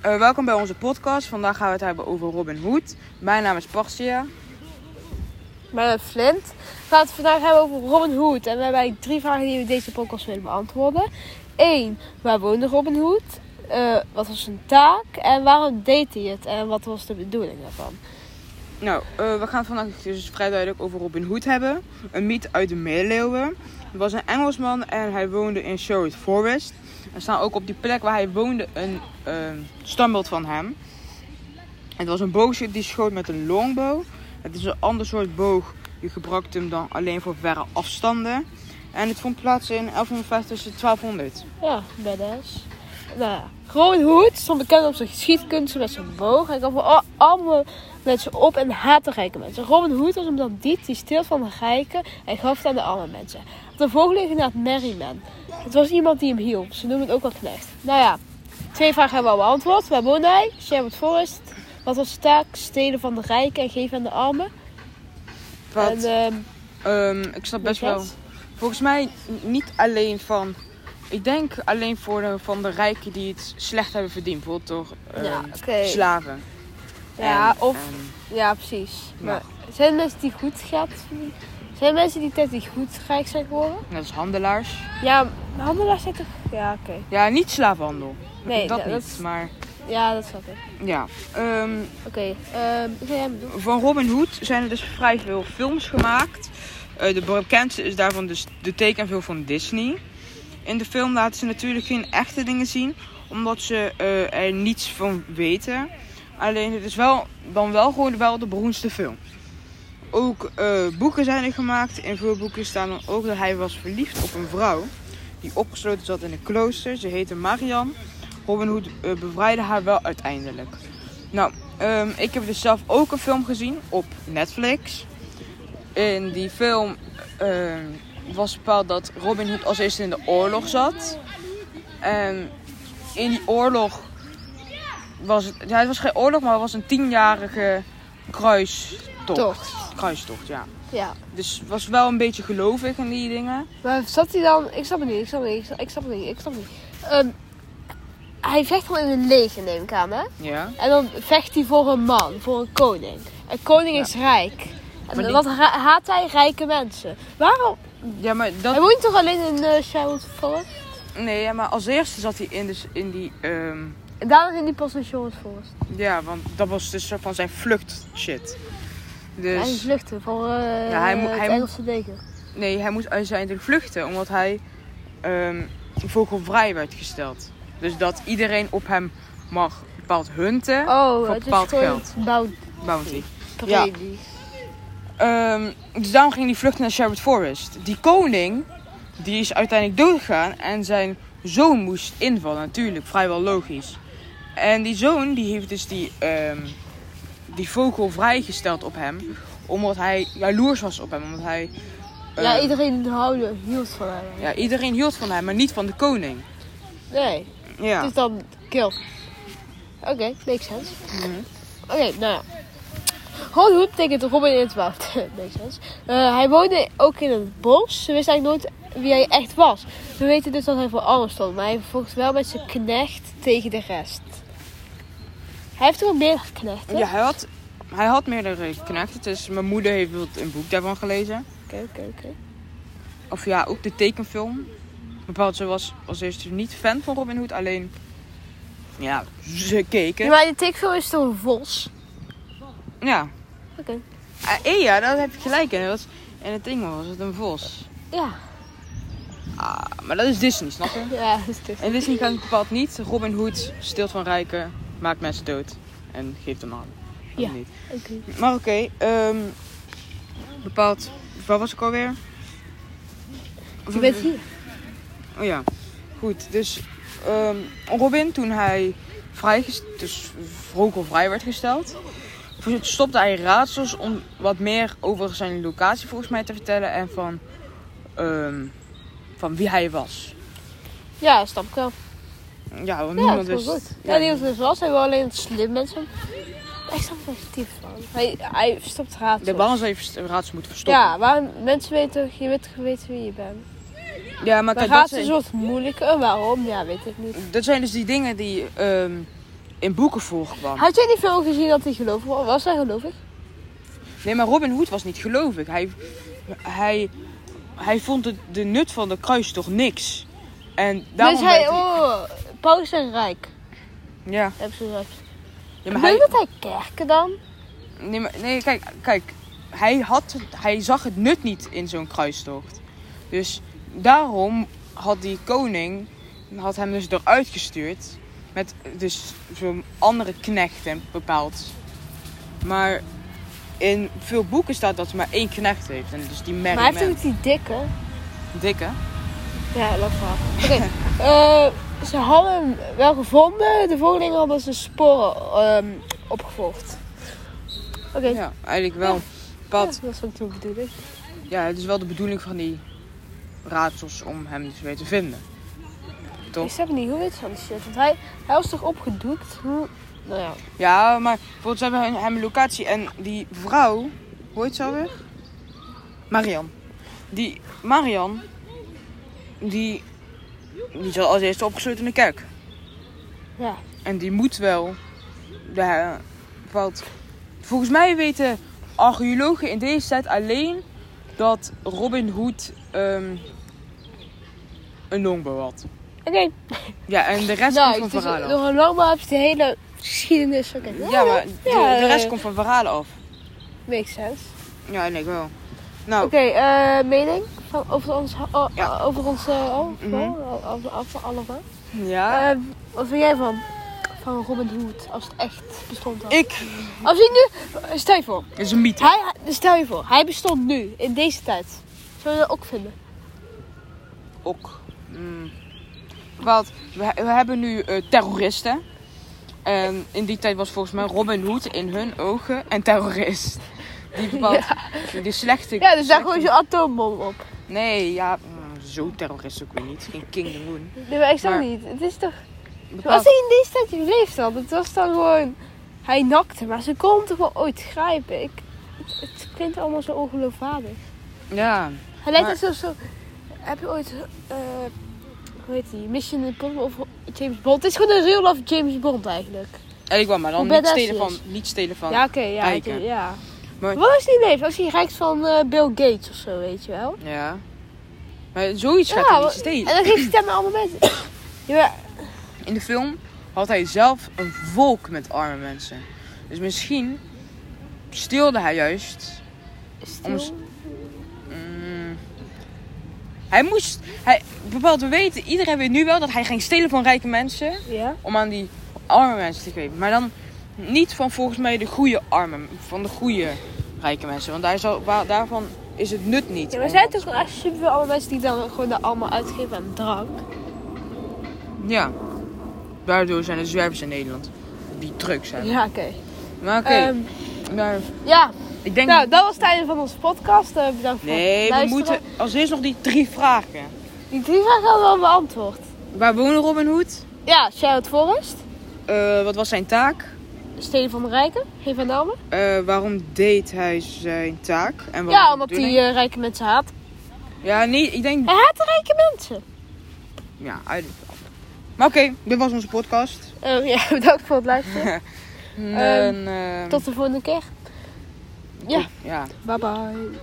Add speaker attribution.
Speaker 1: Eh, welkom bij onze podcast. Vandaag gaan we het hebben over Robin Hood. Mijn naam is Parsia.
Speaker 2: Mijn naam is eh, Flint. We gaan het vandaag hebben over Robin Hood. En we hebben eigenlijk drie vragen die we deze podcast willen beantwoorden. Eén, waar woonde Robin Hood? Eh, wat was zijn taak? En waarom deed hij het? En wat was de bedoeling daarvan?
Speaker 1: Nou, eh, we gaan het vandaag dus vrij duidelijk over Robin Hood hebben. Een mythe uit de middeleeuwen. Het was een Engelsman en hij woonde in Sherwood Forest. Er staan ook op die plek waar hij woonde een eh, standbeeld van hem. Het was een boogschutter die schoot met een longbow. Het is een ander soort boog. Je gebruikt hem dan alleen voor verre afstanden. En het vond plaats in 1150 tussen 1200.
Speaker 2: Ja, badass. Nou ja, Robin Hood stond bekend om zijn geschiedkunsten met zijn boog. Hij kwam voor al- allemaal mensen op en haatte rijke mensen. Robin Hood was omdat die die steelt van de rijken en gaf het aan de arme mensen. De volgende ging naar het Merryman. Het was iemand die hem hielp. Ze noemen het ook wel knecht. Nou ja, twee vragen hebben we al beantwoord. Waar woonde hij? Sherwood Forest. Wat was zijn taak? Stelen van de rijken en geven aan de armen.
Speaker 1: Wat-
Speaker 2: En, ehm,
Speaker 1: Ehm, ik snap best
Speaker 2: Weet je
Speaker 1: wel. Volgens mij n- niet alleen van. Ik denk alleen voor de, van de rijken die het slecht hebben verdiend. Bijvoorbeeld door ehm,
Speaker 2: ja, oké.
Speaker 1: slaven.
Speaker 2: Ja,
Speaker 1: En,
Speaker 2: of
Speaker 1: ehm,
Speaker 2: Ja, precies.
Speaker 1: Ja.
Speaker 2: Maar zijn er mensen die goed geld verdienen? Zijn er mensen die tijd die goed rijk zijn geworden?
Speaker 1: dat is handelaars.
Speaker 2: Ja, handelaars zijn toch... Ja, oké.
Speaker 1: Ja, niet slavenhandel.
Speaker 2: Nee,
Speaker 1: dat
Speaker 2: ja,
Speaker 1: niet.
Speaker 2: dat is-
Speaker 1: Maar
Speaker 2: Ja, dat snap ik.
Speaker 1: ja. Ehm,
Speaker 2: Oké, ehm ik ga jij hem doen.
Speaker 1: van Robin Hood zijn er dus vrij veel films gemaakt. Eh, de bekendste is daarvan dus de tekenfilm van Disney. In de film laten ze natuurlijk geen echte dingen zien, omdat ze eh, er niets van weten. Alleen het is wel, dan wel gewoon wel de beroemdste film. Ook eh, boeken zijn er gemaakt. In veel boeken staan dan ook dat hij was verliefd op een vrouw die opgesloten zat in een klooster. Ze heette Marian. Robin Hood eh, bevrijdde haar wel uiteindelijk. Nou, Ehm, ik heb dus zelf ook een film gezien op Netflix. In die film ehm, was bepaald dat Robin Hood als eerste in de oorlog zat. En in die oorlog was het, ja, het was geen oorlog, maar het was een tienjarige kruistocht.
Speaker 2: Tocht.
Speaker 1: Kruistocht, ja.
Speaker 2: Ja.
Speaker 1: Dus was wel een beetje gelovig in die dingen.
Speaker 2: Maar zat hij dan... Ik snap het niet, ik snap het niet, ik snap- ik snap het niet, ik snap het niet. Ehm, hij vecht gewoon in een leger, neem ik aan, hè?
Speaker 1: Ja.
Speaker 2: En dan vecht hij voor een man, voor een koning. Een koning
Speaker 1: Ja.
Speaker 2: is rijk. En
Speaker 1: Maar die-
Speaker 2: wat ra- haat hij? Rijke mensen. Waarom?
Speaker 1: Ja, maar
Speaker 2: Hij
Speaker 1: dat...
Speaker 2: woont toch alleen in uh, Sherwood Forest?
Speaker 1: Nee, ja, maar als eerste zat hij in, dus in die... ehm,
Speaker 2: En daarna ging hij pas naar Sherwood Forest.
Speaker 1: ja, want dat was dus soort van zijn vlucht shit. Dus...
Speaker 2: Hij vluchtte van eh,
Speaker 1: Ja, hij moet-
Speaker 2: het
Speaker 1: hij moet-
Speaker 2: Engelse leger.
Speaker 1: Nee, hij moest uiteindelijk vluchten omdat hij ehm, vogelvrij werd gesteld. Dus dat iedereen op hem mag bepaald hunten.
Speaker 2: Oh,
Speaker 1: Voor
Speaker 2: het is
Speaker 1: bepaald
Speaker 2: gewoon
Speaker 1: geld.
Speaker 2: Bout
Speaker 1: Bounty. Ja.
Speaker 2: Brady.
Speaker 1: Ehm, dus daarom ging hij vluchten naar Sherwood Forest. Die koning, die is uiteindelijk doodgegaan en zijn zoon moest invallen. Natuurlijk, vrijwel logisch. En die zoon, die heeft dus die, ehm, die vogel vrijgesteld op hem. Omdat hij jaloers was op hem. Omdat hij...
Speaker 2: Ja,
Speaker 1: ehm,
Speaker 2: iedereen houden, hield van hem.
Speaker 1: ja, iedereen hield van hem, maar niet van de koning.
Speaker 2: Nee,
Speaker 1: Ja.
Speaker 2: dus dan kill. Oké, makes sense.
Speaker 1: Mhm.
Speaker 2: Oké, nou ja. Robin Hood betekent Robin in het woud. makes sense. Eh, hij woonde ook in het bos. Ze wist eigenlijk nooit wie hij echt was. We weten dus dat hij voor alles stond. Maar hij vocht wel met zijn knecht tegen de rest. Hij heeft toch wel meer knechten?
Speaker 1: Ja, hij had, hij had meerdere knechten. Dus mijn moeder heeft bijvoorbeeld een boek daarvan gelezen.
Speaker 2: Oké, oké, oké.
Speaker 1: Of ja, ook de tekenfilm. Bepaald, ze was als eerste niet fan van Robin Hood. Alleen, ja, ze
Speaker 2: Ja,
Speaker 1: keken.
Speaker 2: maar de tekenfilm is toch een vos?
Speaker 1: Ja.
Speaker 2: Oké.
Speaker 1: Eh, eh, ja, daar heb je gelijk in. Dat, en het ding was het een vos.
Speaker 2: Ja.
Speaker 1: Ah, maar dat is Disney, snap je?
Speaker 2: Ja, dat is dus.
Speaker 1: En Disney kan het bepaald niet. Robin Hood steelt van rijken, maakt mensen dood en geeft hem aan. Dat
Speaker 2: Ja.
Speaker 1: niet.
Speaker 2: Oké.
Speaker 1: Maar oké, ehm, bepaald. Waar was ik alweer?
Speaker 2: Je bent hier.
Speaker 1: Oh ja, goed. Dus ehm, Robin, toen hij vrijgesteld, dus vogelvrij werd gesteld, stopte hij raadsels om wat meer over zijn locatie volgens mij te vertellen en van, ehm, van wie hij was.
Speaker 2: Ja, snap ik wel.
Speaker 1: Ja, want
Speaker 2: Ja,
Speaker 1: niemand
Speaker 2: dat is
Speaker 1: wist.
Speaker 2: wel goed. Ja, die hoeft dus was. Hij wil alleen slim mensen. Ik snap er echt diep van. Hij, hij stopt raadsels.
Speaker 1: de balans heeft raadsels moeten verstoppen.
Speaker 2: Ja, waarom mensen weten, je weet geweten wie je bent.
Speaker 1: Ja, maar
Speaker 2: Dan
Speaker 1: kijk,
Speaker 2: gaat
Speaker 1: dat
Speaker 2: ze een
Speaker 1: zijn,
Speaker 2: soort moeilijker. Oh, Waarom? Ja, weet ik niet.
Speaker 1: dat zijn dus die dingen die ehm, in boeken voorkwamen.
Speaker 2: Had jij die film gezien dat hij gelovig was? Was hij gelovig?
Speaker 1: Nee, maar Robin Hood was niet gelovig. Hij, hij, hij vond de, de nut van de kruis toch niks. En daarom
Speaker 2: dus hij,
Speaker 1: werd
Speaker 2: oh, paus en rijk.
Speaker 1: Ja,
Speaker 2: Heb ze gezegd.
Speaker 1: ja maar
Speaker 2: Weet
Speaker 1: hij...
Speaker 2: dat hij kerken dan?
Speaker 1: Nee, maar, nee kijk, kijk hij, had, hij zag het nut niet in zo'n kruistocht. Dus daarom had die koning had hem dus eruit gestuurd. Met dus zo'n andere knechten bepaald. Maar in veel boeken staat dat ze maar één knecht heeft. En dus die
Speaker 2: maar hij
Speaker 1: merkt
Speaker 2: heeft ook die dikke.
Speaker 1: dikke.
Speaker 2: Ja, dat verhaal. Oké, eh, ze hadden hem wel gevonden. De volgende ding hadden ze sporen ehm, opgevolgd. Oké,
Speaker 1: Ja, eigenlijk wel.
Speaker 2: ja,
Speaker 1: Pad.
Speaker 2: dat was ook toen bedoel ik.
Speaker 1: Ja, het is wel de bedoeling van die raadsels om hem dus weer te vinden. Toch?
Speaker 2: Ik snap niet hoe weet van die shit. Want hij, hij was toch opgedoekt? Hoe- Nou ja,
Speaker 1: Ja, maar bijvoorbeeld ze hebben hun- hem een locatie en die vrouw, hoe heet ze alweer? Marian. Die Marian, die, die zat als eerste opgesloten in de kerk.
Speaker 2: ja.
Speaker 1: En die moet wel, ja, wat, volgens mij weten archeologen in deze tijd alleen dat Robin Hood ehm, een longbow had.
Speaker 2: Oké,
Speaker 1: Ja, en de rest
Speaker 2: nou,
Speaker 1: komt
Speaker 2: dus
Speaker 1: van verhalen af.
Speaker 2: door een langbaar heb je de hele geschiedenis. Oké,
Speaker 1: Ja, maar de,
Speaker 2: Ja,
Speaker 1: de rest
Speaker 2: eh,
Speaker 1: komt van verhalen af.
Speaker 2: Makes sense.
Speaker 1: Ja, nee, ik wel. Nou,
Speaker 2: Oké, eh, mening van, over ons, oh,
Speaker 1: Ja.
Speaker 2: over ons eh, oh,
Speaker 1: Mhm.
Speaker 2: oh, over, over allemaal.
Speaker 1: ja.
Speaker 2: Eh, wat vind jij van, van Robin Hood als het echt bestond? Had?
Speaker 1: Ik.
Speaker 2: Als hij nu, stel je voor,
Speaker 1: Dat is een mythe.
Speaker 2: hij, dus stel je voor, hij bestond nu, in deze tijd. Zou je dat ook vinden?
Speaker 1: Ook. Mm. Want we, we hebben nu eh, terroristen. En in die tijd was volgens mij Robin Hood in hun ogen een terrorist. Die bepaalt de slechte...
Speaker 2: Ja, dus daar
Speaker 1: slechte-
Speaker 2: gooi je zo'n atoombom op.
Speaker 1: Nee, ja, mm, zo terrorist ook weer niet. Geen King de Moon.
Speaker 2: Nee, maar ik snap
Speaker 1: Maar-
Speaker 2: niet. Het is toch... Als
Speaker 1: Bepaalt-
Speaker 2: hij in deze tijd geleefd had, het was dan gewoon... Hij nakte, maar ze kon hem toch wel ooit grijpen. Ik, het, het klinkt allemaal zo ongeloofwaardig.
Speaker 1: Ja.
Speaker 2: Hij lijkt
Speaker 1: Maar-
Speaker 2: alsof zo... Heb je ooit... eh, hoe heet die? Mission Impossible of James Bond? Het is gewoon een real life James Bond eigenlijk.
Speaker 1: En ik wou maar dan
Speaker 2: Hoe
Speaker 1: niet
Speaker 2: badass
Speaker 1: stelen,
Speaker 2: hij
Speaker 1: van,
Speaker 2: is.
Speaker 1: niet stelen van...
Speaker 2: Ja, oké, ja.
Speaker 1: kijken.
Speaker 2: oké, ja.
Speaker 1: Maar-
Speaker 2: Wat als die leeft? Als hij rijk is van eh, Bill Gates of zo, weet je wel?
Speaker 1: Ja. Maar zoiets gaat hij
Speaker 2: ja,
Speaker 1: niet
Speaker 2: want-
Speaker 1: stelen.
Speaker 2: en dan geeft hij stemmen allemaal mensen. Ja, maar-
Speaker 1: In de film had hij zelf een volk met arme mensen. Dus misschien steelde hij juist.
Speaker 2: stil.
Speaker 1: Om s- mm, hij moest. Hij, bepaald, we weten, iedereen weet nu wel dat hij ging stelen van rijke mensen.
Speaker 2: Ja?
Speaker 1: Om aan die arme mensen te geven. Maar dan niet van volgens mij de goede armen. Van de goede rijke mensen. Want daar zal, waar- daarvan is het nut niet.
Speaker 2: ja, maar zijn toch echt superveel allemaal mensen die dan gewoon dat allemaal uitgeven aan drank?
Speaker 1: Ja. Daardoor zijn er zwervers in Nederland. Die drugs hebben.
Speaker 2: Ja, oké.
Speaker 1: Maar oké.
Speaker 2: Ehm,
Speaker 1: maar
Speaker 2: ja,
Speaker 1: ik denk
Speaker 2: nou, dat was het einde van onze podcast. Eh, bedankt voor
Speaker 1: Nee,
Speaker 2: het
Speaker 1: we
Speaker 2: luisteren.
Speaker 1: moeten als eerst nog die drie vragen.
Speaker 2: Die drie vragen hadden we al beantwoord.
Speaker 1: Waar woonde Robin Hood?
Speaker 2: Ja, Charlotte Forrest.
Speaker 1: Eh, wat was zijn taak?
Speaker 2: Steden van de Rijken, geen van Damme.
Speaker 1: Eh, waarom deed hij zijn taak? En wat
Speaker 2: Ja,
Speaker 1: was
Speaker 2: omdat
Speaker 1: de
Speaker 2: hij
Speaker 1: bedoeling?
Speaker 2: eh, rijke mensen haat.
Speaker 1: Ja, nee, ik denk...
Speaker 2: Hij eh, haat de rijke mensen.
Speaker 1: Ja, eigenlijk wel. Maar oké, dit was onze podcast.
Speaker 2: Eh, ja, bedankt voor het luisteren.
Speaker 1: En, ehm,
Speaker 2: Tot de volgende keer. ja.
Speaker 1: Ja.
Speaker 2: Bye bye.